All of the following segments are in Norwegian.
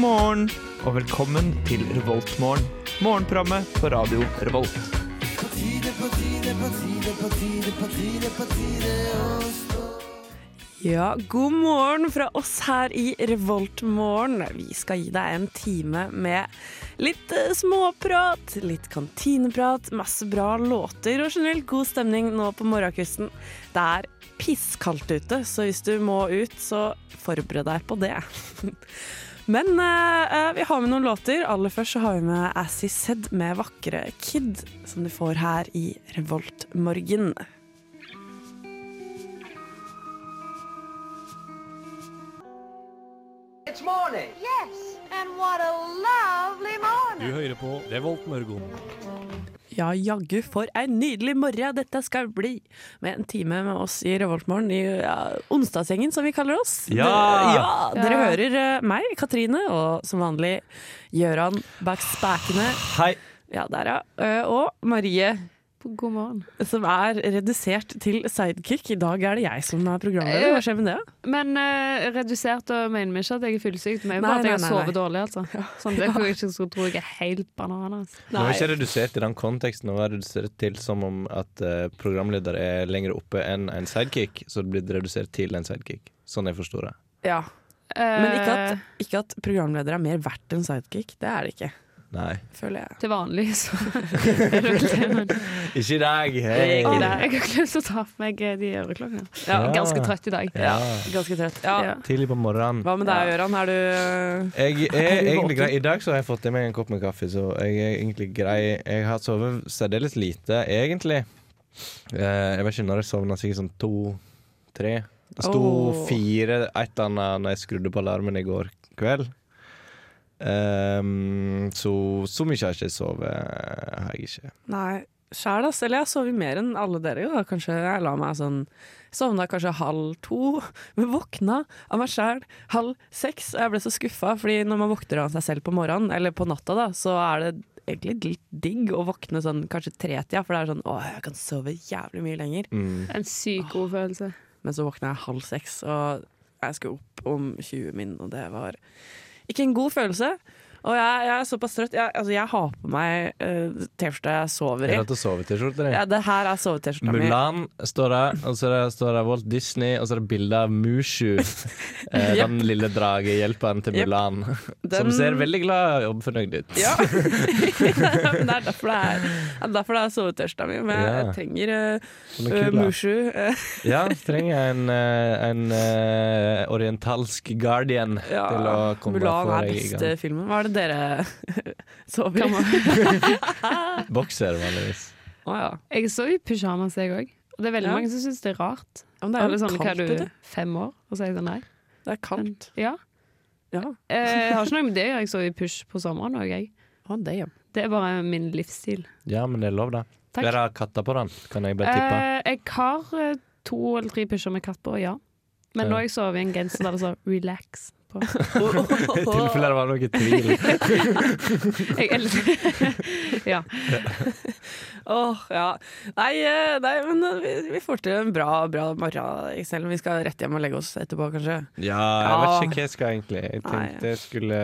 morgen og velkommen til Revoltmorgen. Morgenprogrammet på radio Revolt. Ja, god morgen fra oss her i Revoltmorgen. Vi skal gi deg en time med litt eh, småprat, litt kantineprat, masse bra låter og generelt god stemning nå på morgenkvisten. Det er pisskaldt ute, så hvis du må ut, så forbered deg på det. Men eh, eh, vi har med noen låter. Aller først så har vi med As He Said med Vakre Kid, som du får her i Revoltmorgen. It's morning. Yes, and what a lovely morning. Du hører på Revolt Mørgon. Ja, jaggu for en nydelig morgen dette skal bli! Med en time med oss i Revoltmorgen i ja, onsdagsgjengen, som vi kaller oss. Ja! Dere- ja dere Ja. hører eh, meg, Katrine, og som vanlig Gøran bak spakene. Hei. Ja, der, ja. Eh, Og Marie, God morgen. som er redusert til sidekick. I dag er det jeg som er programleder. Hva skjer med det? Men eh, redusert og mener vi ikke at jeg er fyllesyk. Nei, Men bare at nei, jeg har nei, sovet dårlig, altså. Sånn, det får jeg ikke skulle tro jeg er helt altså. bananas. Du var ikke redusert i den konteksten å være redusert til som om at eh, programleder er lenger oppe enn en sidekick, så det blir redusert til en sidekick. Sånn jeg forstår det. Ja. Men ikke Eh, at, ikke at programleder er mer verdt enn sidekick. Det er det ikke, Nei. føler jeg. Til vanlig, så er det vel det. Men Ikke i dag! Ikke i Å, dag. nei, jeg har glemt å ta på meg eh, de øreklokkene. Ja, Ja. ganske trøtt i dag. Ja. Ganske trøtt. Ja. Ja. Tidlig på morgenen. Hva med deg, Gøran? Er du Jeg er Er du våken? egentlig grei. I dag så har jeg fått i meg en kopp med kaffe, så jeg er egentlig grei. Jeg har sovet særdeles lite, egentlig. Eh, jeg vet ikke når jeg sovna, sikkert sånn to-tre. Det sto Åh. fire et eller annet når jeg skrudde på alarmen i går kveld. Ehm, så så mye har jeg ikke sovet. eh, Har jeg ikke. Nei, sjæl ass. Eller jeg sover mer enn alle dere, jo. da. Kanskje jeg la meg sånn Sovna kanskje halv to, men våkna av meg sjæl halv seks. Og jeg ble så skuffa, fordi når man våkner av seg selv på morgenen, eller på natta, da, så er det egentlig litt digg å våkne sånn kanskje tretida, for det er sånn åh, jeg kan sove jævlig mye lenger. Mm. En sykt god følelse. Men så våkna jeg halv seks, og jeg skulle opp om 20 min, og det var ikke en god følelse. Og jeg, jeg er såpass trøtt. Jeg, altså, jeg har på meg uh, T-skjorta jeg sover i. Er det at du sover T-skjorte? Ja, det her er sove-T-skjorta mi. Mulan står der, og så er det- står det Walt Disney, og så er det bilde av Mushu. Eh, den lille dragehjelperen til Jep. Mulan. Den- Eh, Som ser veldig glad og fornøyd ut. Ja. Men det er derfor det er, det er, derfor det er sove-T-skjorta mi. Men jeg, Ja. jeg trenger uh, Hun er kul, da. Mushu. eh, Ja, trenger jeg en, eh, en eh, orientalsk guardian ja. til å komme Mulan for er deg i beste gang. filmen. Hva er det dere sover i? Bokser, vanligvis. Å ja. Jeg sov i pysjamas, jeg òg. Og det er veldig Ja. mange som syns det er rart. Ja, Men det er Alle jo sånn, hva er kaldt du, ute. fem år? Og så er jeg sånn, nei. Det er kaldt. Ja. Ja. Eh, Jeg har ikke noe med det å gjøre, jeg sov i pysj på sommeren òg, jeg. Oh, damn. Det er bare min livsstil. Ja, men det er lov, da. Takk. Dere har katter på den, kan jeg bare tippe. Eh, jeg har eh, to eller tre pysjer med katt på, ja. Men nå har jeg sovet i en genser der det står 'relax' på. I tilfelle det var noe tvil. Jeg elsker Ja. Åh, ja. Nei, eh, nei, men eh, vi, vi får til en bra, bra morgen, selv om vi skal rett hjem og legge oss etterpå, kanskje. Ja, jeg vet ikke hva jeg skal egentlig. Jeg Nei. tenkte jeg skulle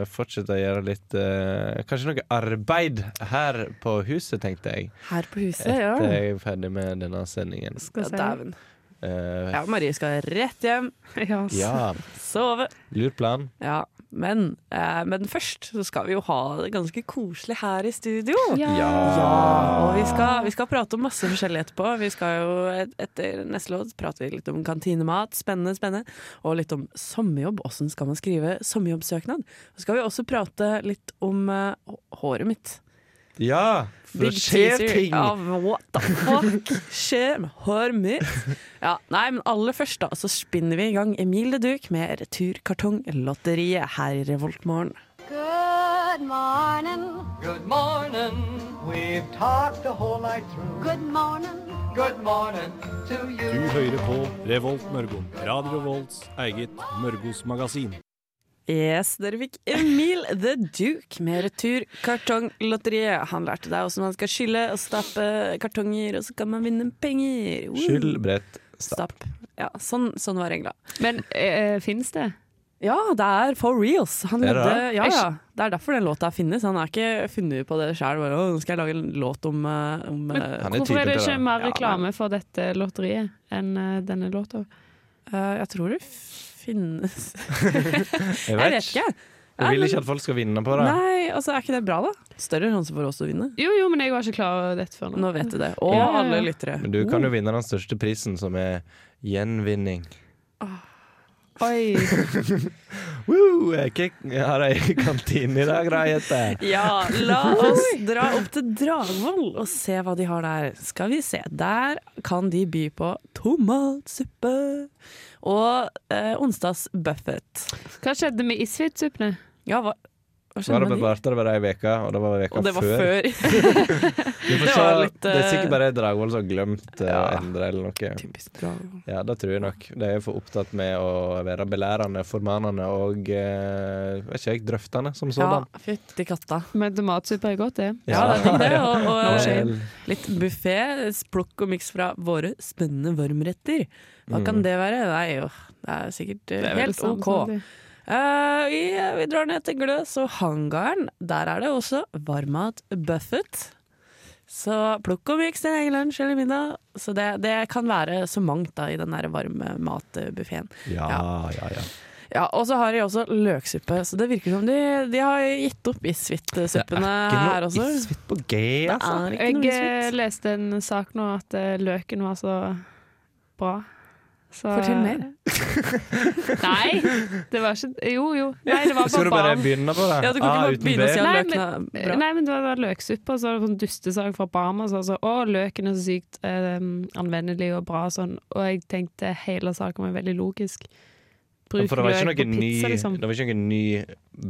eh, fortsette å gjøre litt eh, Kanskje noe arbeid her på huset, tenkte jeg. Her på huset, ja. Etter jeg er ferdig med denne sendingen. Skal ja jeg si. Dæven. Eh, Ja, Marie skal rett hjem, Ja, ass. ja. sove. Lur plan. Ja, men, eh, men først så skal vi jo ha det ganske koselig her i studio. Ja, og vi skal, vi skal prate om masse forskjellig etterpå. Vi skal jo et, Etter neste låt prater vi litt om kantinemat, spennende, spennende. Og litt om sommerjobb, åssen skal man skrive sommerjobbsøknad. Så skal vi også prate litt om eh, håret mitt. Ja, for det skjer teaser ting! Av what the fuck skjer med håret mitt? Ja, nei, men aller først da, så spinner vi i gang Emilie Duke med Returkartonglotteriet her i Revoltmorgen. Good morning. Good morning. We've talked the whole night through. Good morning. Good morning to Du you. hører på Revolt Mørgon. Radio Revolts eget Mørgos magasin. Yes, dere fikk Emil The Duke med returkartonglotteriet. Han lærte deg hvordan man skal skylle og stappe kartonger, og så kan man vinne penger. Woo! Skyld, brett, Stapp. Ja, sånn, sånn var regla. Men eh, fins det? Ja, det er for reals. Han Det er det, levde, ja, ja. det er derfor den låta finnes. Han har ikke funnet på det sjøl. Nå skal jeg lage en låt om, eh, om eh, Han er Hvorfor typen er det til ikke det. mer Ja, reklame for dette lotteriet enn eh, denne låta? eh, Jeg tror det finnes Jeg Jeg vet vet ikke. ikke. Jeg vil ikke at folk skal vinne på det. Nei, altså Er ikke det bra, da? Større sjanse for oss å vinne. Jo, jo, men jeg var ikke klar over dette før nå. Nå vet du det. Og Ja, ja, ja. alle lyttere. Men du kan jo vinne den største prisen, som er gjenvinning. Oi. Woo, jeg ikke- jeg har ei kantine i dag, da, Jette. Ja, la oss dra opp til Dragvoll og se hva de har der. Skal vi se. Der kan de by på tomatsuppe og eh, onsdagsbuffet. Hva skjedde med isfitsuppene? Ja, hva, hva Så har skjedde det med de? bevart det bare ei uke, og det var veka Og det var før. før. Vi får det se. var litt, det er sikkert eh, bare Dragvoll som har glemt eh, å ja. endre eller noe. Typisk Dragvoll. Ja, det tror jeg nok. De er for opptatt med å være belærende, formanende og eh, vet ikke jeg, drøftende som Ja, sådan. Eh, fytti katta. Men tomatsuppe er godt, det. Ja, det er fint det. Og, og skjer. Vel, litt buffé, plukk og miks fra våre spennende varmretter. Mm. Hva kan det være? Nei, jo, det er sikkert eh, helt Samme OK. som det. Eh, vi, vi drar ned til Gløs og hangaren. Der er det også varmmat buffet. Så plukk og miks din egen lunsj eller middag. Så det, det kan være så mangt da i den der varme matbuffeen. Ja, ja, ja. Ja, og så har de også løksuppe, så det virker som de, de har gitt opp issuite-suppene her også. isvitt på G, altså. Er ikke Jeg noe eh, issuite. leste en sak nå at eh, løken var så bra. Så, Fortell mer. Nei, det var ikke Jo, jo. Nei, det var Skal bare du bare barn. begynne på det? Ja, du kan ikke Ah, bare uten begynne å B. si at Nei, løken er bra. Nei, men det var løksuppe, og så var det sånn dustesak fra Barma. Så, så, å, løken er så sykt eh, anvendelig og bra og sånn. Og jeg tenkte hele saken var veldig logisk. Bruk For det var ikke løk på noe ny, pizza, liksom. det var ikke noe ny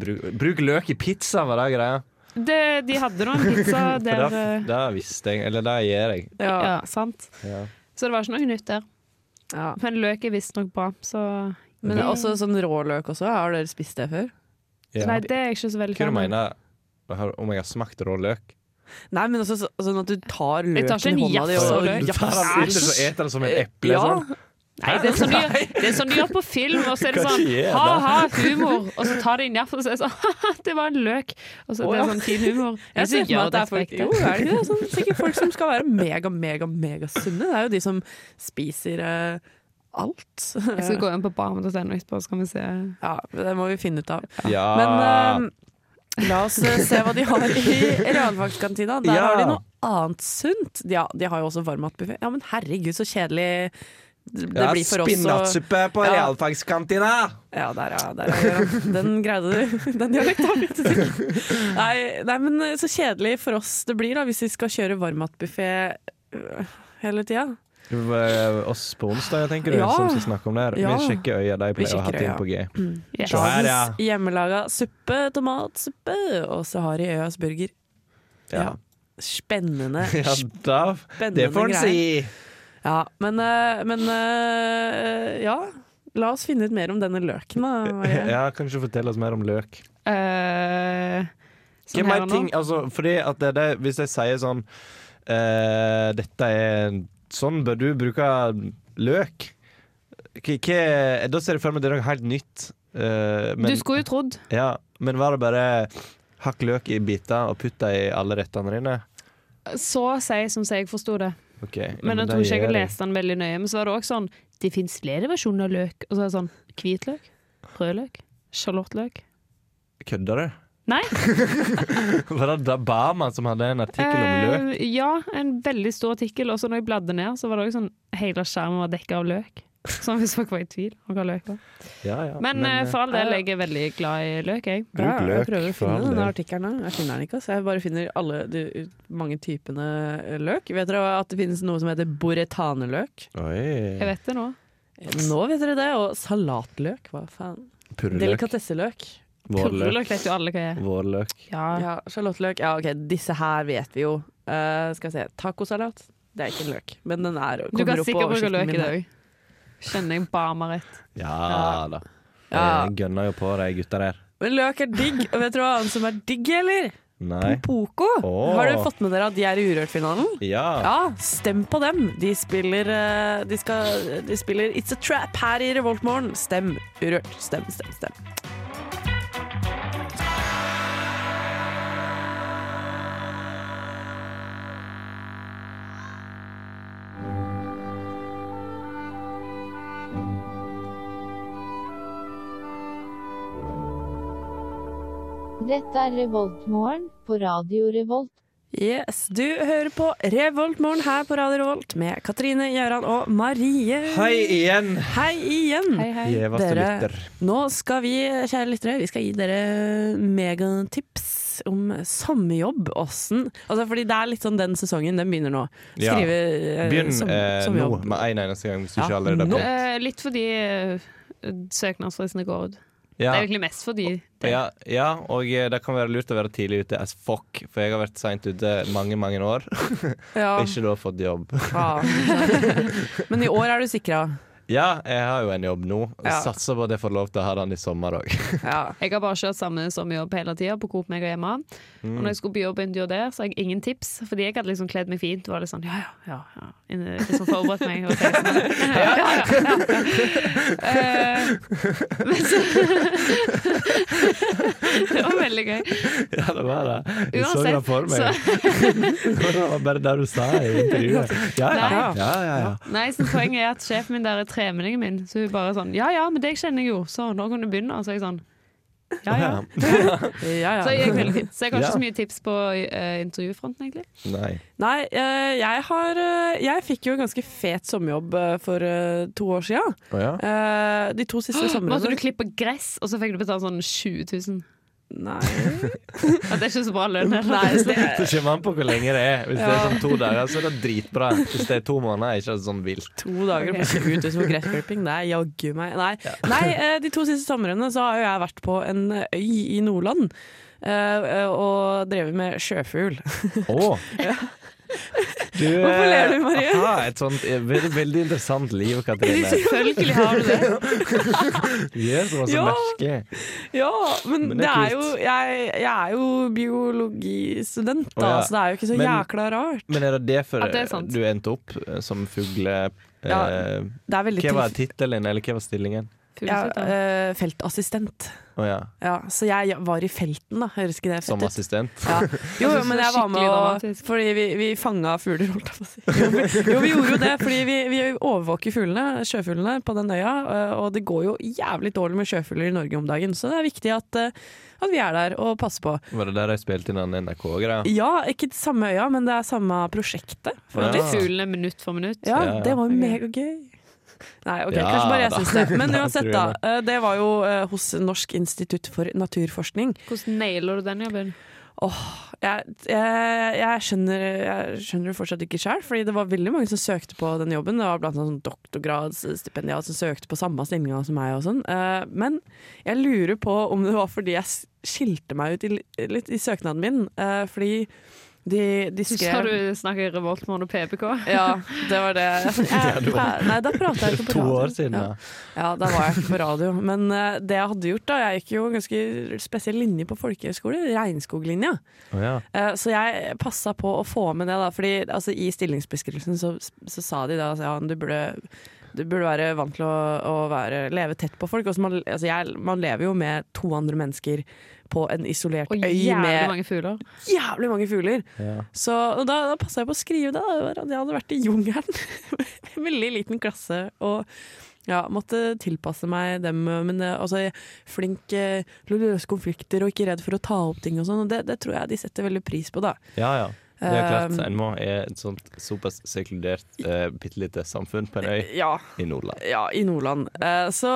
bruk, bruk løk i pizza, var det greia? Det, de hadde nå en pizza der For det, eh, det visste jeg, eller det gjør jeg. Ja. ja, sant. Ja. Så det var ikke noe nytt der. Ja. Men løk er visstnok bra, så Men Det- også sånn råløk også. Har dere spist det før? Ja. Nei, det er jeg ikke så veldig Hva du fan av. mener jeg har- om jeg har smakt rå løk? Nei, men også så, sånn at du tar løken Jeg tar ikke en i hånda di jafs og av løk. Du tar den ut og så eter den som et eple? Ja. Sånn. Nei, det er, sånn de, gjør- det er sånn de gjør på film, og så er det Hva sånn skjer da? ha-ha, humor. Og så tar de en jaff og så er det sånn ha-ha, det var en løk. Og så Å, det ja. er sånn fin humor. Jeg ser synes for meg at det er gjør folk, dette jo, ekte. er det ikke det? Sånn, sikkert folk som skal være mega, mega, mega sunne. Det er jo de som spiser eh, alt. Jeg skal gå inn på barmen.no etterpå, så kan vi se. Ja, det må vi finne ut av. Ja. Men eh, la oss eh, se hva de har i realfagskantina. Der Ja. har de noe annet sunt. De, har- de har jo også varmmatbuffé. Ja, men herregud, så kjedelig det det blir for oss å Spinatsuppe på Ja. realfagskantina! Ja, der, ja. Der, er Gøran. Den greide du. Den dialekta vet du ikke. Nei, nei, men eh, så kjedelig for oss det blir da hvis vi skal kjøre varmmatbuffé øh, hele tida. Eh, Oss på onsdag, tenker du, Ja. som skal snakke om det her. Ja. Vi sjekker øya de Vi pleier å ha sjekker ting øya. Mm. på G. Yes. Så her, ja. Hjemmelaga suppe, tomatsuppe, og så har de Øyas burger. Ja. Spennende. Ja, da, Spennende det får en greier. si. Ja, men, eh, men eh, Ja. La oss finne ut mer om denne løken, da. Marie. Ja, kan du ikke fortelle oss mer om løk? Eh, sånn Hvem her er og nå. ting, altså, fordi at det, det, hvis jeg sier sånn eh, Dette er Sånn bør du bruke løk. K hva, da ser jeg for meg at det er noe helt nytt. Eh, men, Du skulle jo trodd. ja, men var det bare hakk løk i biter og putt det i alle rettene dine? Så si som si jeg forsto det. Ok, ja, Men jeg det tror ikke gjør jeg leste den veldig nøye. Men så var det også sånn Det fins flere versjoner av løk. Og så er det sånn hvitløk, rødløk, sjalottløk. Kødder du? Nei. Var det da Bama som hadde en artikkel om løk? Eh, ja, en veldig stor artikkel. Og så når jeg bladde ned, så var det også sånn hele skjermen var dekka av løk. Sånn hvis folk var i tvil om hva løk var. Ja, ja. Men, eh, eh, for all del, ja. jeg er veldig glad i løk, jeg. Bruk Ja, løk jeg prøver å for all finne denne del. artikkelen. her. Jeg finner den ikke. Altså. Jeg bare finner alle de mange typene eh, løk. Vet dere at det finnes noe som heter boretaneløk? Jeg Oi. vet det nå. Nå vet dere det. Og salatløk, hva faen. Purreløk. Delikatesseløk. Vårløk. Purreløk vet jo alle hva er. Vårløk. Ja. Ja, Sjalottløk. Ja, OK, disse her vet vi jo. Eh, skal vi se. Tacosalat. Det er ikke en løk, men den er Du kommer kan opp på sikkert bruke oversikten løk min i det her. òg. Kjenner jeg bare meg rett. Ja da. Ja. Jeg gønner jo på de gutta der. Men løk er digg, og vet dere hva annet som er digg, eller? Nei. Pompoko. Åh. Har dere fått med dere at de er i Urørt-finalen? Ja. Ja, stem på dem. De spiller, eh, de skal, de spiller It's a Trap her i Revoltmorgen. Stem Urørt. Stem, stem, stem. Dette er Revoltmorgen på Radio Revolt. Yes, du hører på Revoltmorgen her på Radio Revolt med Katrine, Gøran og Marie. Hei igjen, Hei igjen. Hei, hei. gjeveste Dere- lytter. Nå skal vi, kjære lyttere, vi skal gi dere megatips om sommerjobb. Åssen altså, Fordi det er litt sånn den sesongen, den begynner nå. Ja. Skrive eh, Begynn som- eh, nå sommerjobb. med en eneste gang, hvis du Ja, ikke allerede har nå. begynt. Eh, litt fordi eh, søknadsfristene går ut. Det Ja. er egentlig mest fordi det. Ja, ja, og eh, det kan være lurt å være tidlig ute as fuck, for jeg har vært seint ute mange, mange år. Ja. Ikke da fått jobb. Ja. Men i år er du sikra. Ja, jeg har jo en jobb nå. Ja. Satser på at jeg får lov til å ha den i sommer òg. Ja. Jeg har bare kjørt samme sommerjobb hele tida på Coop Mega hjemme. Mm. Og når jeg skulle på jobb intervju der, så har jeg ingen tips, fordi jeg hadde liksom kledd meg fint. Og var litt sånn, ja, ja, ja, ja. Inn- Liksom forberedt meg. Og tenkte sånn, ja, ja, ja, ja. Eh, men så Det var veldig gøy. Ja, det var det. Jeg så Uansett, det for meg. det var bare det du sa i intervjuet. Ja, ja, Nei. ja. ja, ja. Nei, så Poenget er at sjefen min der er tremenningen min. Så hun bare sånn Ja ja, men deg kjenner jeg jo, så nå kan du begynne. Og så er jeg sånn Ja ja. Ja, ja. Så jeg gikk veldig fint. Så jeg har ikke Ja. så mye tips på eh, intervjufronten, egentlig. Nei. Nei, eh, jeg har eh, Jeg fikk jo en ganske fet sommerjobb eh, for eh, to år sia. Å ja. De to siste Måtte du somrene. klippe gress, og så fikk du betalt sånn 20 000? Nei. Ja, det er ikke så bra lønn heller. Nei, så det Så kommer an på hvor lenge det er. Hvis det er sånn to dager, så er det dritbra. Hvis det er to måneder, er det ikke sånn vilt. To dager på 20 000 for gressklipping, det er jaggu meg Nei, Nei eh, de to siste somrene så har jo jeg vært på en øy i Nordland. eh, eh, og drevet med sjøfugl. Å. Du, Hvorfor ler du, Marie? Ha et sånt eh, veldig, veldig interessant liv, Katrine. Selvfølgelig har du det. Du gjør så masse Ja. merke. Ja, men, Men det det er, er jo kult. jeg, jeg er jo biologistudent, da, Å, ja. så det er jo ikke så Men- jækla rart. Men er det derfor Ja, det er sant. du endte opp eh, som fugle... eh, Ja, Det er veldig hva var tilf- tittelen, eller hva var stillingen? ja, Fuglesutter. eh, Feltassistent. Å ja. Ja, så jeg var i felten, da. Høres ikke det Som fett ut? assistent? Ja. Jo, jo, synes men det var jeg var med skikkelig og dramatisk. Fordi vi, vi fanga fugler, holdt jeg på å si. Jo, vi, jo, vi gjorde jo det, fordi vi, vi overvåker fuglene, sjøfuglene, på den øya. eh, Og det går jo jævlig dårlig med sjøfugler i Norge om dagen, så det er viktig at, eh, at vi er der og passer på. Var det der jeg spilte inn den NRK-greia? Ja, ikke det samme øya, men det er samme prosjektet. Ja. Litt fuglene minutt for minutt. Ja, Ja, ja. det var jo Ok. megagøy. Nei, ok, Ja, kanskje bare jeg da. syns det. Men Da uansett, tror jeg da. eh, Det var jo eh, hos Norsk institutt for naturforskning. Hvordan nailer du den jobben? Jeg, jeg, jeg, skjønner, jeg skjønner det fortsatt ikke sjøl, fordi det var veldig mange som søkte på den jobben. Det var blant annet sånn doktorgradsstipendiat som søkte på samme stillinga som meg og sånn. Eh, Men jeg lurer på om det var fordi jeg s- skilte meg ut i, li- litt i søknaden min, eh, fordi de, de Så sa skrev du snakker revoltmorgen og PPK. Ja, det var det. Jeg, nei, da prata jeg ikke på To radio. år siden, Ja. da. Ja, da var jeg ikke på radio. Men eh, det jeg hadde gjort da, jeg gikk jo en ganske spesiell linje på folkehøyskole, regnskoglinja. Å ja. Eh, Så jeg passa på å få med det, da. Fordi altså, i stillingsbeskrivelsen så, så sa de da altså, ja, du burde du burde være vant til å, å være, leve tett på folk. Og så man, altså jeg, man lever jo med to andre mennesker på en isolert Og øy jævlig med mange fugler. jævlig mange fugler. Ja. Så og da, da passa jeg på å skrive det. Da. Jeg hadde vært i jungelen. En Veldig liten klasse. Og ja, måtte tilpasse meg dem. Men eh, altså, jeg er flink eh, til å løse konflikter og ikke redd for å ta opp ting og sånn. Og det, det tror jeg de setter veldig pris på, da. ja, ja. Det er klart, Um, en må i et sånt såpass sekulert, uh, bitte lite samfunn på en øy Ja, i Nordland. ja, i Nordland. Eh, Så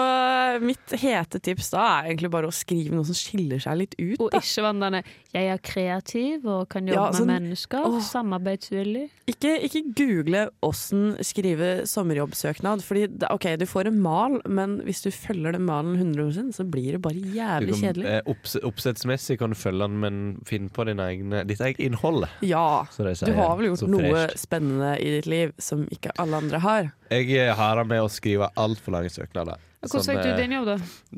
mitt hete tips da er egentlig bare å skrive noe som skiller seg litt ut. Og Da. ikke vandrende. Jeg er kreativ og kan jobbe Ah. Ja, sånn- med mennesker. Åh. Samarbeidsvillig. Ikke, ikke google åssen skrive sommerjobbsøknad, Fordi det, OK, du får en mal, men hvis du følger den malen 100 så blir det bare Du jævlig kan, kjedelig. eh, opps oppsettsmessig kan du følge den, men finn på din egne, ditt eget innhold. Ja. så de sier. Du har vel gjort Så noe fresht. spennende i ditt liv som ikke alle andre har. Jeg eh, har det med å skrive altfor lange søknader. Hvordan Sånn, fikk du eh, din jobb, da?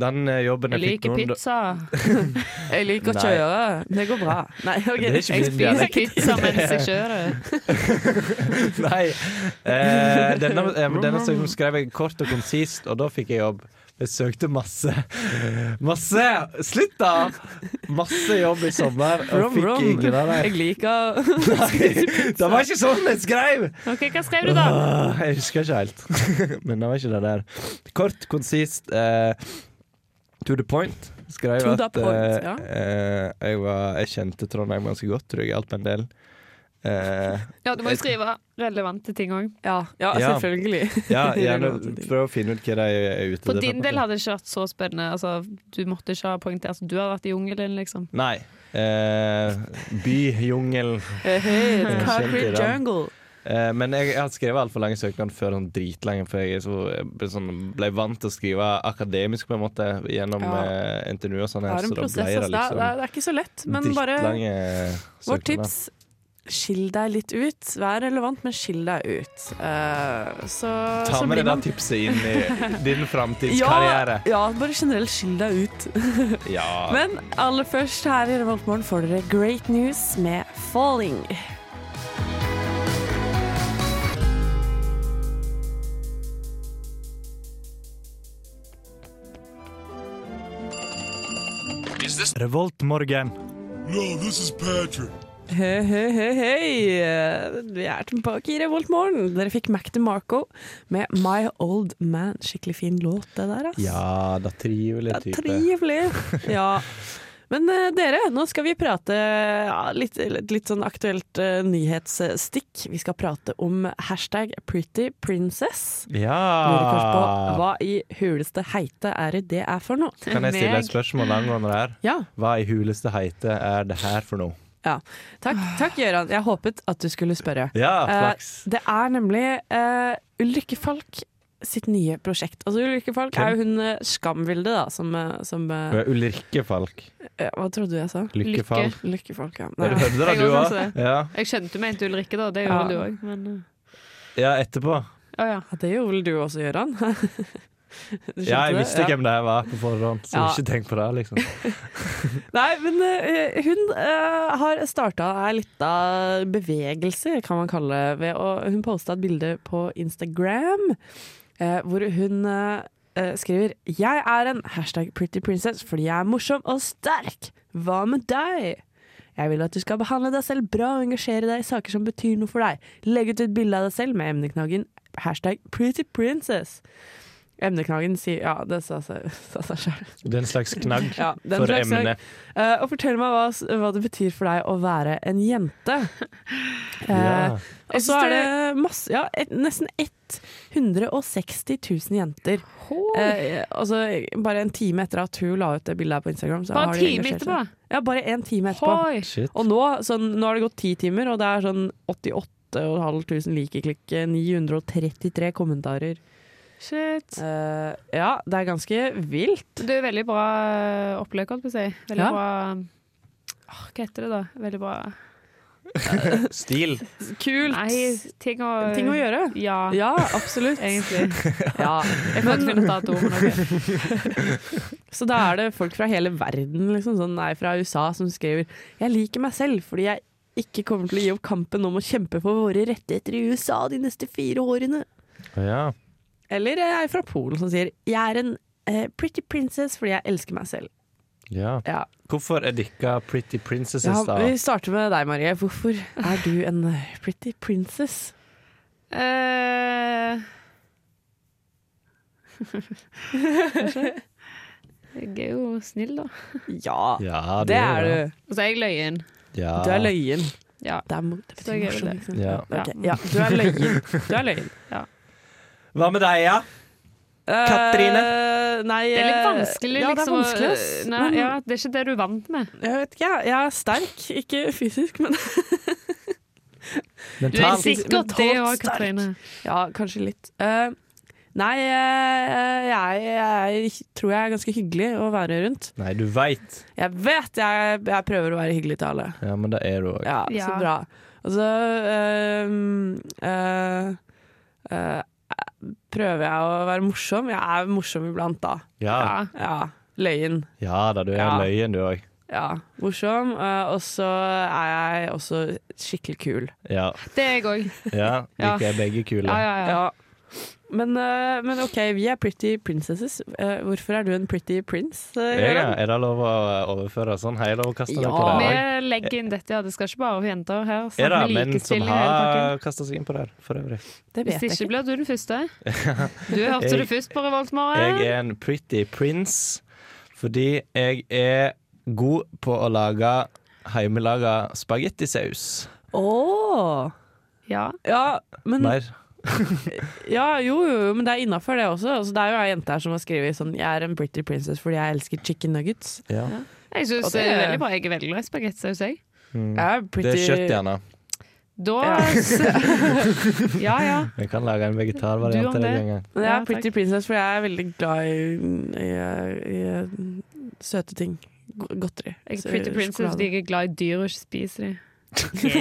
Den eh, jobben Jeg jeg fikk liker nå pizza. Jeg liker å Nei. kjøre. Det går bra. Nei, ok. Det er ikke Jeg min spiser dialekt. Pizza mens jeg kjører. Nei. Eh, denne eh, denne søknaden skrev jeg kort og konsist, og da fikk jeg jobb. Jeg søkte masse. Masse! Slutt, da! Masse jobb i sommer, og Rom, fikk rom. ingen av dem. Jeg liker Det var ikke sånn jeg skrev! Ok, Hva skrev du, da? Åh, jeg husker ikke helt. Men det var ikke det der. Kort, konsist, eh, to the point. Skrev To at the point, eh, ja. eh, jeg, var, jeg kjente Trondheim ganske godt, tror jeg. Hjalp en del. Eh, Ja, Du må jo skrive relevante ting òg. Ja, ja Ja. selvfølgelig. ja, gjerne Relevante ting. prøv å finne ut hva de er ute For din på en del måte. hadde det ikke vært så spennende. Altså, du måtte ikke ha poengtert altså, Du har vært i jungelen, liksom. Nei. Eh, Byjungel. It's Kjente concrete den. jungle. Eh, men jeg, jeg har skrevet altfor lange søknader før sånn dritlange, for jeg, er så, jeg ble, sånn, ble vant til å skrive akademisk på en måte gjennom Ja. eh, NTNU og sånn. Det her, er en så da ble prosess. altså. Det det er, liksom- det er- det er ikke så lett, men bare Drittlange vårt søknader. tips Skill deg litt ut. Vær relevant, men skill deg ut. Eh, så, Ta så med blir det der man tipset inn i din ja, framtidskarriere. ja, bare generelt skill deg ut. Ja. Men aller først her i Revoltmorgen får dere Great News med Falling. Revoltmorgen. Hei, hei, hei, hei. Vi er tilbake i Revoltmorgen. Dere fikk Mac DeMarco med My Old Man. Skikkelig fin låt, det der, ass. Ja, da trivelig Det er type. Trivelig. Ja. Men eh, dere, nå skal vi prate ja, litt, litt, litt sånn aktuelt eh, nyhetsstikk. Vi skal prate om hashtag pretty princess. Lurer kanskje på Ja. hva i huleste heite er det det er for noe? Kan jeg stille Meg. et spørsmål angående det her? Ja. Hva i huleste heite er det her for noe? ja. Takk, takk, Gøran. Jeg håpet at du skulle spørre. Ja, Eh, flaks. det er nemlig eh, Ulrikke Falk sitt nye prosjekt. Altså Ulrikke Falk Hvem? er jo hun eh, Skamvilde, da, som, eh, som eh, Ulrikke Falk. eh, Hva trodde du jeg sa? Lykke Lykke. Falk. Ulrikke Falk, ja. Har du hørt det, da, Jeg du også òg? sånn synes det. Ja. Jeg skjønte du mente Ulrikke, da. Det Ja. gjorde du òg, men eh, ja, etterpå. Å ja. Ja, det gjorde vel du også, Gøran? Du skjønte Ja, jeg det? visste hvem det her var på forhånd, så Ja. ikke tenk på det, liksom. Nei, men eh, hun eh, har starta ei lita bevegelse, kan man kalle det. Ved å, hun posta et bilde på Instagram eh, hvor hun eh, eh, skriver Jeg er en hashtag pretty princess fordi jeg er morsom og sterk. Hva med deg? Jeg vil at du skal behandle deg selv bra og engasjere deg i saker som betyr noe for deg. Legg ut et bilde av deg selv med emneknaggen hashtag pretty princess. Emneknaggen sier Ja, det sa seg sa seg sjøl. Det er en slags knagg Ja, den for slags- emnet. Eh, og fortell meg hva, s- hva det betyr for deg å være en jente. Eh, Ja. Og så er det masse, ja, et, nesten 160 000 jenter. Eh, altså, bare en time etter at hun la ut det bildet her på Instagram. Så Bare har en de time engasjert seg. etterpå. Ja, bare en time etterpå. Hoi. Shit. Og nå, sånn, nå har det gått ti timer, og det er sånn 88.500 likeklikk, eh, 933 kommentarer. Shit. Eh, ja, det er ganske vilt. Det er veldig bra eh, opplegg, holdt på å si. Veldig Ja. bra Åh, Hva heter det, da? Veldig bra Stil. Kult! Nei, ting å, Ting å gjøre. Ja, Ja, absolutt. egentlig. Ja. Jeg kan ikke finne ut av et ord. men ok. Så da er det folk fra hele verden, liksom, sånn, nei, fra USA, som skriver Jeg liker meg selv fordi jeg ikke kommer til å gi opp kampen om å kjempe for våre rettigheter i USA de neste fire årene. Ja. Eller eh, jeg er fra Polen som sier Jeg er en eh, pretty princess fordi jeg elsker meg selv. ja. Ja. Hvorfor er dere pretty princesses, Ja, da? vi starter med deg, Marie. Hvorfor er du en eh, pretty princess? Eh. Jeg er jo snill, da. Ja, Ja, det er det. du. Og så er jeg løyen. Ja. Du er løyen. Ja. Det, er, mo- det betyr Så jeg er morsom. det. ikke sant? Ja. Ok, ja, du er løyen. Du er løyen. Hva med deg, ja? Katrine? Eh, nei, Det er litt eh, vanskelig, ja, liksom. det er vanskelig, ass. å- Nei, Men- ja, det er ikke det du er vant med. Jeg vet ikke, jeg. Jeg er sterk. Ikke fysisk, men Du er Mentalt. sikkert det Mentalt òg, sterk. Katrine. Ja, kanskje litt. Eh, nei, eh, jeg, jeg tror jeg er ganske hyggelig å være rundt. Nei, du veit. Jeg vet jeg, jeg prøver å være hyggelig til alle. Ja, men det er du òg. Ja, Altså, Ja. så bra. Og så eh, eh, eh, prøver jeg å være morsom. Jeg er morsom iblant, da. Ja, Ja. Ja. Løyen. ja da, du er Ja. løyen, du òg. Ja, morsom. eh, Og så er jeg også skikkelig kul. Ja. Det er jeg òg. ja. Ja. Liker jeg begge kule. Ja, ja, ja. Ja. Men, eh, men OK, vi er pretty princesses. Eh, Hvorfor er du en pretty prince? eh, Jeg, ja. Jørgen? Er det lov å overføre sånn heiloverkasta Ja. ja, på det? også? Vi legger inn dette, ja. Det skal ikke bare være jenter her. Er det Snakk med menn som likestilling i hele pakken. har kasta seg inn på det her, for øvrig? Det vet Hvis jeg ikke ikke. blir du den første. Du hørte Jeg- det først på Jeg Revoltmorgen. er en pretty prince fordi jeg er god på å lage hjemmelaga spagettisaus. Åh Ja. Ja, men, Mer. ja, jo, jo, jo, men det er innafor, det også. Altså, det er jo ei jente her som har skrevet sånn Jeg er en pretty princess fordi jeg elsker chicken nuggets. Ja. Jeg Og det- syns det er veldig bra. Jeg er veldig glad i spagettisaus, Jeg jeg. er Mm. Det pretty er kjøtt, gjerne. Da Ja. Ja, ja. Jeg kan lage en Du vegetarvariant om til deg det. en gang. Men jeg Ja, er pretty princess fordi jeg er veldig glad i, i, i, i søte ting. Go- Godteri. Jeg Så- er pretty princess fordi sjokolade. jeg er glad i dyr og ikke spiser de.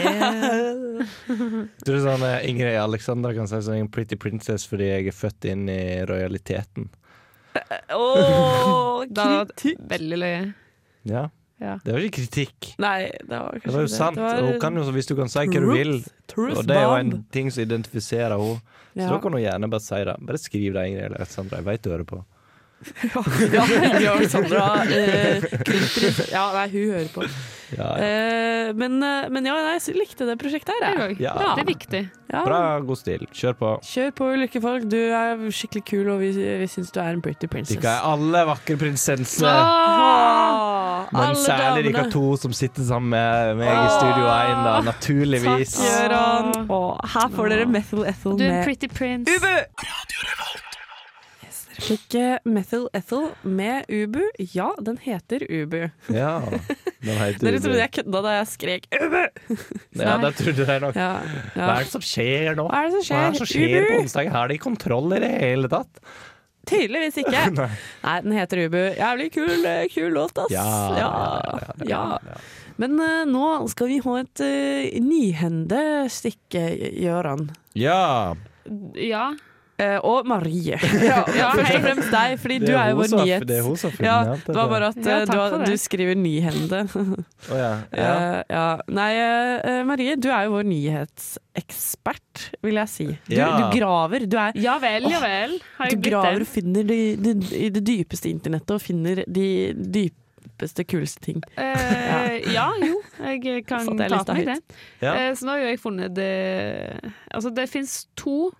Tror du sånn eh, Ingrid Alexandra kan si sånn jeg er en pretty princess fordi jeg er født inn i rojaliteten? Åh, Det hadde vært kritikk! veldig løye. Ja. Ja. Det var ikke kritikk. Nei, det var kanskje Det var jo sant. Og hun kan jo, hvis du kan si hva du vil, Truth og det er jo en bomb. ting som identifiserer henne, så Ja. da kan hun gjerne bare si det. Bare skriv det, Ingrid Alexandra. Jeg veit du hører på. Ja, Ingrid Alexandra eh, kritisk. Ja, nei, hun hører på. Ja, ja. Eh, men, eh, men ja, nei, jeg likte det prosjektet her. Jeg Jeg. òg. Ja. Det er viktig. Ja. Bra, god stil. Kjør på. Kjør på, lykkefolk. Du er skikkelig kul, og vi, vi syns du er en pretty princess. Dere er alle vakre prinsesser, Åh, Åh, men Ah! alle særlig damene. dere to som sitter sammen med meg i Studio 1, da, naturligvis. Takk, ja. Gøran. Åh, her får Ah. dere Methyl Ethyl Du er en med pretty prince. Ubu! Yes, dere Fikk eh, Methyl Ethyl med Ubu. Ja, den heter Ubu. Ja, den heter Dere du. trodde jeg kødda da jeg skrek 'Ubu'! Ja, det trodde jeg nok. Ja, ja. Hva er det som skjer nå? Hva er det som Hva skjer? er det som skjer på Ubu? onsdag? Har de kontroll i det hele tatt? Tydeligvis ikke. Nei. Nei, den heter Ubu. Jævlig kul, eh, kul låt, ass. Ja, ja, ja, ja. Men eh, nå skal vi ha et uh, nyhende stikke, Gøran. Ja. Ja. Eh, og Marie. Ja, først og fremst deg, fordi du er jo vår nyhet. Det er hun som har Ja, funnet alt det var bare at Ja, eh, takk du, for har- det. du skriver nyhende. Å, ja. Ja. Eh, ja. Nei, eh, Marie, du er jo vår nyhetsekspert, vil jeg si. Du, Ja. du graver. Du, er, Ja vel, ja vel. Har du jeg blitt graver det? og finner de- de- i det dypeste internettet, og finner de dypeste, kuleste ting. Eh, ja, jo. Jeg kan Satte jeg ta lista til meg det. høyt. Ja. Eh, så nå har jo jeg funnet det Altså, det fins to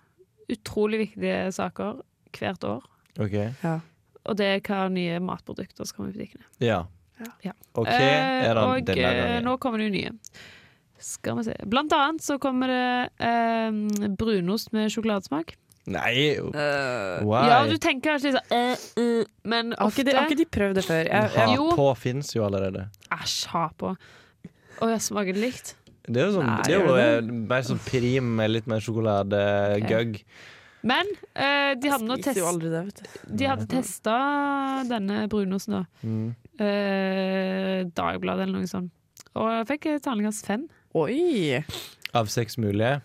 utrolig viktige saker hvert år. OK. Og det er hva nye matprodukter som kommer i butikkene. Ja. Ja. OK, Eh, er det og denne eh, gangen? nå kommer det jo nye. Skal vi se. Blant annet så kommer det eh, brunost med sjokoladesmak. Nei, Eh, why? Ja, du tenker kanskje litt sånn eh, eh, Men Har ikke, ofte de, har ikke de prøvd det før? Jeg, jeg, jo. Ha på fins jo allerede. Æsj, ha på. Å, jeg smaker det likt. Det er jo, sånn, Nei, det er jo gjør eh, mer sånn prim med litt mer sjokoladegøgg. Men eh, de hadde nå spiser jo test, aldri det, vet du. de hadde testa denne brunosten, da. Mm. Eh, Dagbladet eller noe sånt. Og jeg fikk et terningkast fem. Oi! Av seks mulige.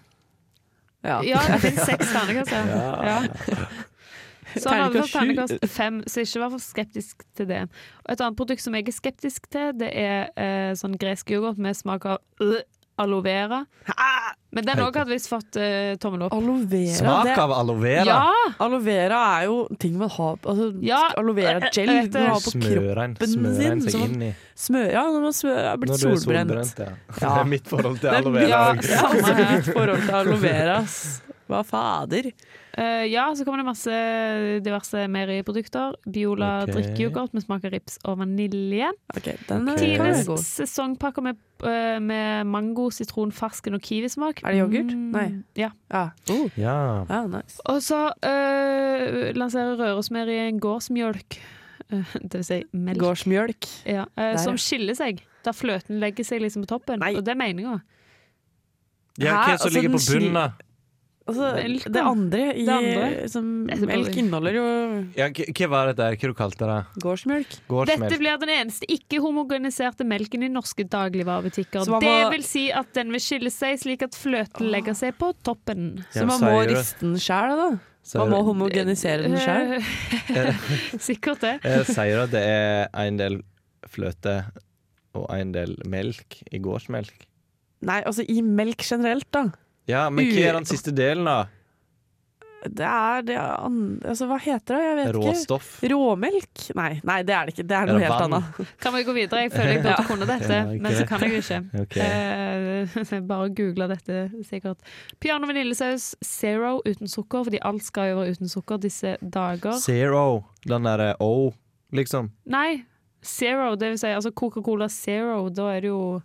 Ja. Ja, det finnes seks terningkast. Ja. Ja. Så han hadde Terningkast fått sju. terningkast fem, så ikke vær for skeptisk til det. Og et annet produkt som jeg er skeptisk til, det er eh, sånn gresk yoghurt med smak av øh, aloe vera. Men den òg hadde visst fått eh, tommel opp. Aloe vera Smak det, av aloe vera! Ja! Aloe vera er jo ting man har altså, Ja, Aloe vera gel jeg man vet det. har på kroppen. Smører en, kroppen smører sin, en seg som- inn i Smør, ja, når man smør, er blitt når du er solbrent. solbrent. Ja. Ja. Det er mitt forhold til Det er aloe vera. mye- også. samme her. mitt forhold til aloe vera. ass. Hva fader? Eh, ja, så kommer det masse diverse meieriprodukter. Biola Ok. drikkeyoghurt med smak av rips og vanilje. Ok, den er, Ok. kan være Tines god. sesongpakker med, eh, med mango, sitron, fersken og kiwismak. Er det yoghurt? Mm, Nei. Ja. Ja. Oh, Ja. ja, nice. Og så eh, lanserer Rørosmeri en gårdsmjølk. Eh, det vil si melk. Gårdsmjølk. Ja, eh, Der, ja. som skiller seg. Der fløten legger seg liksom på toppen. Nei. Og det er meninga. ja, Hæ? hva som Altså, ligger den på bunnen, da? Altså, Melk, det da. andre i Det andre. Som, Etterpå. Melk inneholder jo Ja, k- hva var dette her? Hva du kalte det? gårdsmelk. Dette Gårdsmelk? blir den eneste ikke-homogeniserte melken i norske dagligvarebutikker. Så man Det må- vil si at den vil skille seg slik at fløten legger seg på toppen. Ja, Så man må sier du- riste den sjæl, da. Sier Man må du- homogenisere den sjæl. Eh, Sikkert det. Jeg sier at det er en del fløte og en del melk i gårdsmelk. Nei, altså i melk generelt, da. Ja, men hva er den siste delen, da? Det er det andre Altså, hva heter det? Jeg vet ikke. Råstoff? Råmelk? Nei, nei, det er det ikke. Det er Er noe det helt vann? annet. Kan vi gå videre? Jeg føler jeg burde kunne dette, Ja, ikke men så det. kan jeg jo ikke. Ok. Eh, bare google dette, sikkert. Piano vaniljesaus zero uten sukker, fordi alt skal jo være uten sukker disse dager. Zero. Den derre O, liksom. Nei, zero, det vil si altså Coca-Cola zero, da er det jo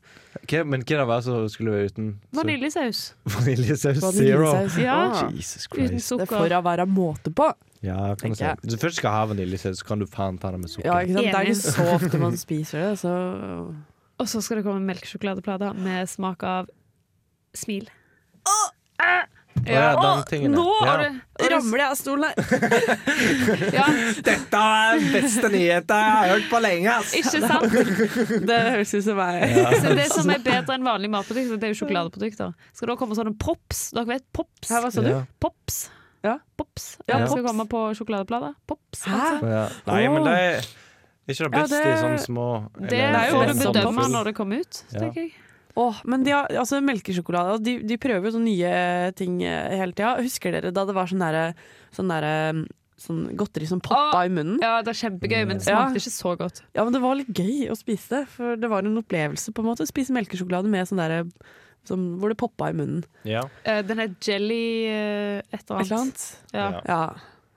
Hva, men hva det var som skulle være uten så- vaniljesaus. Vaniljesaus zero? Vaniljesaus. Ja. Jesus Uten Christ. Det sukker. får da være måte på. Ja, kan du si. Tenker jeg. Hvis du først skal ha vaniljesaus, så kan du faen ta det med sukker. Ja, ikke sant? Det er Enig. ikke så ofte man spiser det, så Og så skal det komme melkesjokoladeplater med smak av smil. Å ja, den tingen der. Nå har Ja. du Ramler jeg av stolen her? Ja, Dette er den beste nyheten jeg har hørt på lenge! altså. ass. ikke sant? Det høres ut som meg. Så det som er bedre enn vanlige matprodukter, det er jo sjokoladeprodukter. Skal det komme sånne props? Dere vet pops? Her, hva sa du? Ja. Pops. Ja. Pops. Ja, Det skal pops. komme på sjokoladeplater. Pops. Hæ? Altså. Ja. Nei, men det er ikke det Ja, beste i det- sånne små Det er eller- sånn jo får du best som bedømme pops. når det kommer ut, Ja. tenker jeg. Åh, men de har, altså melkesjokolade altså, de, de prøver jo sånne nye ting eh, hele tida. Husker dere da det var sånn derre sånn derre, mm, Sånn godteri som poppa i munnen? Ja, det er kjempegøy, men det Ja. smakte ikke så godt. Ja, men det var litt gøy å spise det. For det var en opplevelse, på en måte. å Spise melkesjokolade med sånn derre som- hvor det poppa i munnen. Ja. Eh, Den er jelly eh, et eller Et eller annet. annet. Ja. Ja. Ja.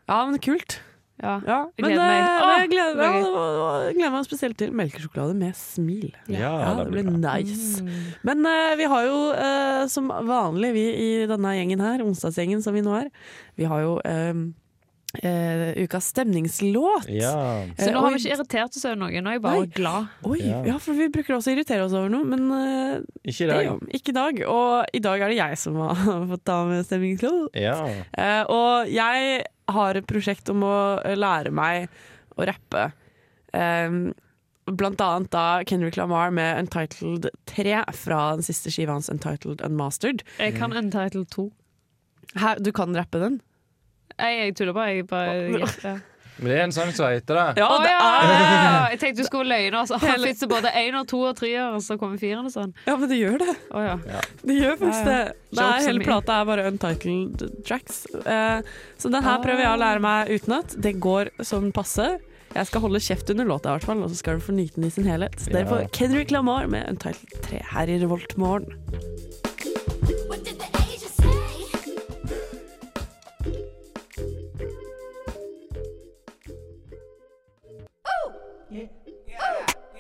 ja, men kult. Ja. Ja, Jeg men gleder det- meg. Åh, men jeg gleder, det ja, blir det var- det gleder meg spesielt til melkesjokolade med smil. Ja, Ja, det blir nice. Mm. Men eh, vi har jo eh, som vanlig, vi i denne gjengen her, onsdagsgjengen som vi nå er, vi har jo eh, eh, ukas stemningslåt. Ja. Så Eh, nå har og- vi ikke irritert oss over noe, nå er jeg bare Nei. glad. Oi, Ja. ja. for vi bruker også å irritere oss over noe, men eh, det Ikke i er dag. jo ikke i dag. Og i dag er det jeg som har fått ta med stemningslåt. Ja. Eh, og jeg har et prosjekt om å eh, lære meg å rappe. Em, blant annet da Kendrick Lamar med Untitled 3 fra den siste skiva hans Untitled Unmastered. Jeg kan Untitled 2. Her, du kan rappe den? Nei, jeg tuller bare. Jeg bare ja. Men det er en sang som heter det. Ja, Å, det ja! er Jeg tenkte du skulle løgne. Altså. Han fikk så både én og to og tre, og så kommer firen og sånn. Ja, men det gjør det. Å, ja. Det gjør faktisk Ja, det. det ja. Jokes er, on hele me. plata er bare untitled tracks. Eh, så den her Ah. prøver jeg å lære meg utenat. Det går sånn passe. Jeg skal holde kjeft under låta, i hvert fall, og så skal du få nyte den i sin helhet. Så dere Ja. får Kendrick Lamar med Untitled 3 her i Revolt morgen. What did the agent say?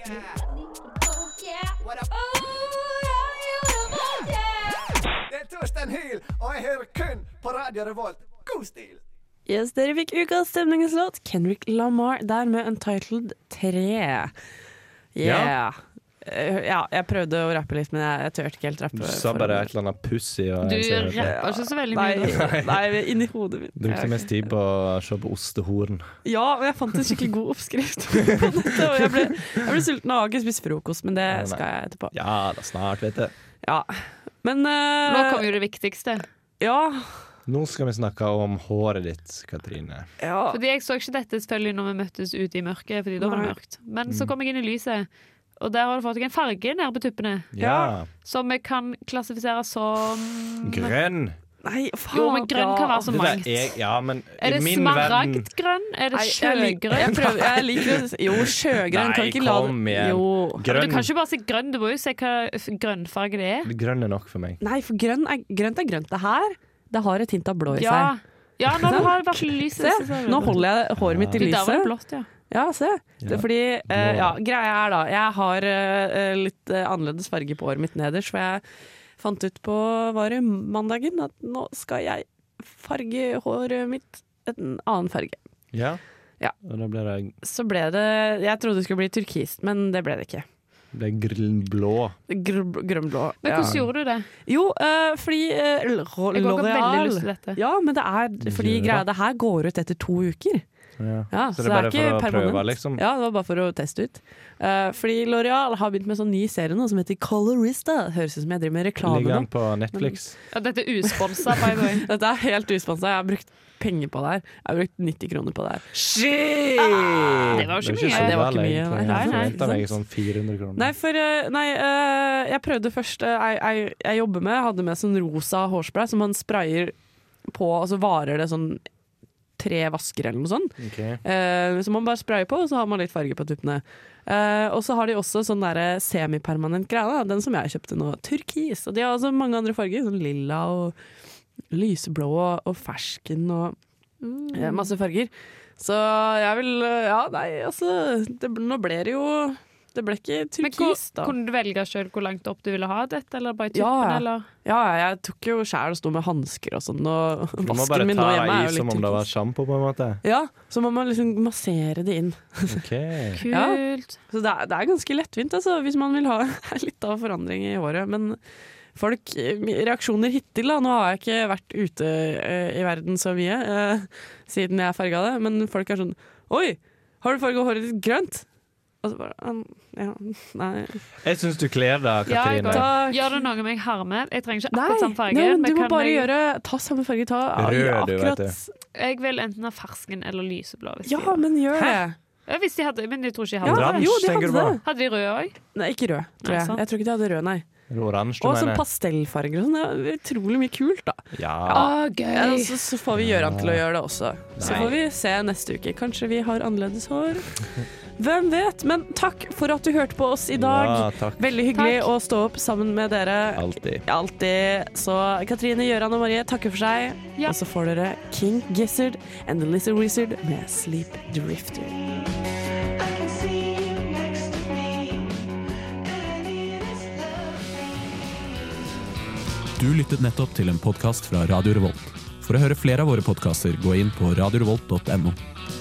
Oh, yeah. Oh, yeah. Det er Torsten Hyl, og jeg hører kun på Radio Revolt. God stil! Yes, dere fikk ukas stemningslåt, Kendrick Lamar, der med Untitled 3. Yeah. Ja. Eh, ja, jeg prøvde å rappe litt, men jeg, jeg turte ikke helt rappe. Du sa for- bare et eller annet pussig. og Du jeg ser- rapper ikke så veldig mye. da. Nei, nei, inni hodet mitt. Brukte mest tid på å se på ostehorn. Ja, og jeg fant en skikkelig god oppskrift på dette. Og jeg, ble, jeg ble sulten og har ikke spist frokost, men det nei. skal jeg etterpå. Ja, da snart, vet du. Ja. Men eh, Nå kommer jo det viktigste. ja, Nå skal vi snakke om håret ditt, Katrine. ja. Fordi jeg så ikke dette selvfølgelig når vi møttes ute i mørket, fordi da var det Nei. mørkt. Men Mm. så kom jeg inn i lyset, og der har du fått deg en farge nede på tuppene Ja. som jeg kan klassifisere som Mm. Grønn! Nei, faen. Jo, men grønn kan være ja. sånn så Det der mangt. er, ja, men Er i det min verden smaragdgrønn? Er det Nei, jeg lik- Jeg, sjøgrønn? prøver, jeg liker det. Jo, sjøgrønn. Kan Nei, ikke la det- kom igjen. Jo. Ja, men Du Grønn, kan ikke bare si grønn, du må jo se hva f- grønnfarge det er. grønn er nok for meg. Nei, for grønn er, grønt er grønt. Det her det har et hint av blå i Ja, seg. ja nå har det vært lys. Se, nå holder jeg håret mitt i Der var det lyset. blått, ja. Ja, se. Det er fordi, eh, ja, greia er da, jeg har eh, litt eh, annerledes farge på håret mitt nederst, for jeg fant ut på, var det mandagen, at nå skal jeg farge håret mitt en annen farge. Ja. Ja. Og da blir det Så ble det, jeg trodde det skulle bli turkist, men det ble det ikke. Det er grillblå. Gr- Grønnblå. Men hvordan gjorde du det? Jo, eh, fordi eh, L'Oreal Jeg går veldig lyst til dette. Ja, men det er fordi Gjør det. greia det her går ut etter to uker. Ja. Ja, Så det er bare for å ikke prøve, permanent. liksom? Ja, det var bare for å teste ut. Eh, fordi L'Oreal har begynt med en sånn ny serie nå som heter Colorista. Høres ut som jeg driver med reklame Ligger nå. den på Netflix? Ja, dette er usponsa, by the way. Dette er helt usponsa. Jeg har brukt penger på det her. Jeg har brukt 90 kroner på det her. Ah! Det var jo ikke mye. så Det var ikke gal, mye, nei. egentlig. Jeg Nei, nei, forventet meg sånn 400 kroner. Nei, for eh, Nei, eh, jeg prøvde først eh, jeg, jeg, jeg jobber med, hadde med sånn rosa hårspray som man sprayer på, og så varer det sånn tre vasker eller noe sånt. Ok. Eh, som man bare sprayer på, og så har man litt farge på tuppene. Eh, og så har de også sånn derre semipermanent greie, da. den som jeg kjøpte nå, turkis. Og de har også mange andre farger, sånn lilla og lyseblå og, og fersken og eh, masse farger. Så jeg vil eh, Ja, nei, altså det, Nå ble det jo Det ble ikke Men hvor, turkis, da. Kunne du velge sjøl hvor langt opp du ville ha dette, eller bare tuppen, Ja, ja. eller? Ja, jeg tok jo sjæl og sto med hansker og sånn, og Du må vasken bare min nå ta hjemme er i jo som litt om det var turkis. sjampo, på en måte. Ja, så må man liksom massere det inn. Ok. Kult. Ja. Så det er, det er ganske lettvint altså, hvis man vil ha litt av forandring i håret. Men folk, eh, reaksjoner hittil da, nå har jeg ikke vært ute eh, i verden så mye eh, siden jeg farga det, men folk er sånn Oi, har du farga håret ditt grønt? Og så bare «Ah, Ja, nei Jeg syns du kler deg, Ja, jeg Katrine. går. Takk. Gjør det noe med jeg har med? Jeg trenger ikke Nei, akkurat samme farge. nei, men men du må kan bare jeg, gjøre Ta samme farge, ta ja, Rød, du vet akkurat det. Jeg vil enten ha fersken eller lyseblå. Hvis Ja, de har. men gjør det. Ja, Hvis de hadde, men jeg tror ikke de Ja, hadde Oransje, jo, de tenker hadde du på? det. Hadde de rød òg? Nei, ikke rød, tror Nei, jeg. sant. Jeg tror ikke de hadde rød, nei. Eller Oransje, du Og sånn mener. pastellfarger og sånn. Det er utrolig mye kult, da. Ja. Ja, og så, så får vi Gøran til å gjøre det også. Så Nei. får vi se neste uke. Kanskje vi har annerledes hår. Hvem vet? Men takk for at du hørte på oss i Ja, dag. takk. Veldig hyggelig Takk. å stå opp sammen med dere. Alltid. Alltid. Så Katrine, Gøran og Marie takker for seg. Ja. Og så får dere King Gizzard and The Lizard Wizard med Sleep Drifter. Du lyttet nettopp til en podkast fra Radio Revolt. For å høre flere av våre podkaster, gå inn på radiorevolt.no.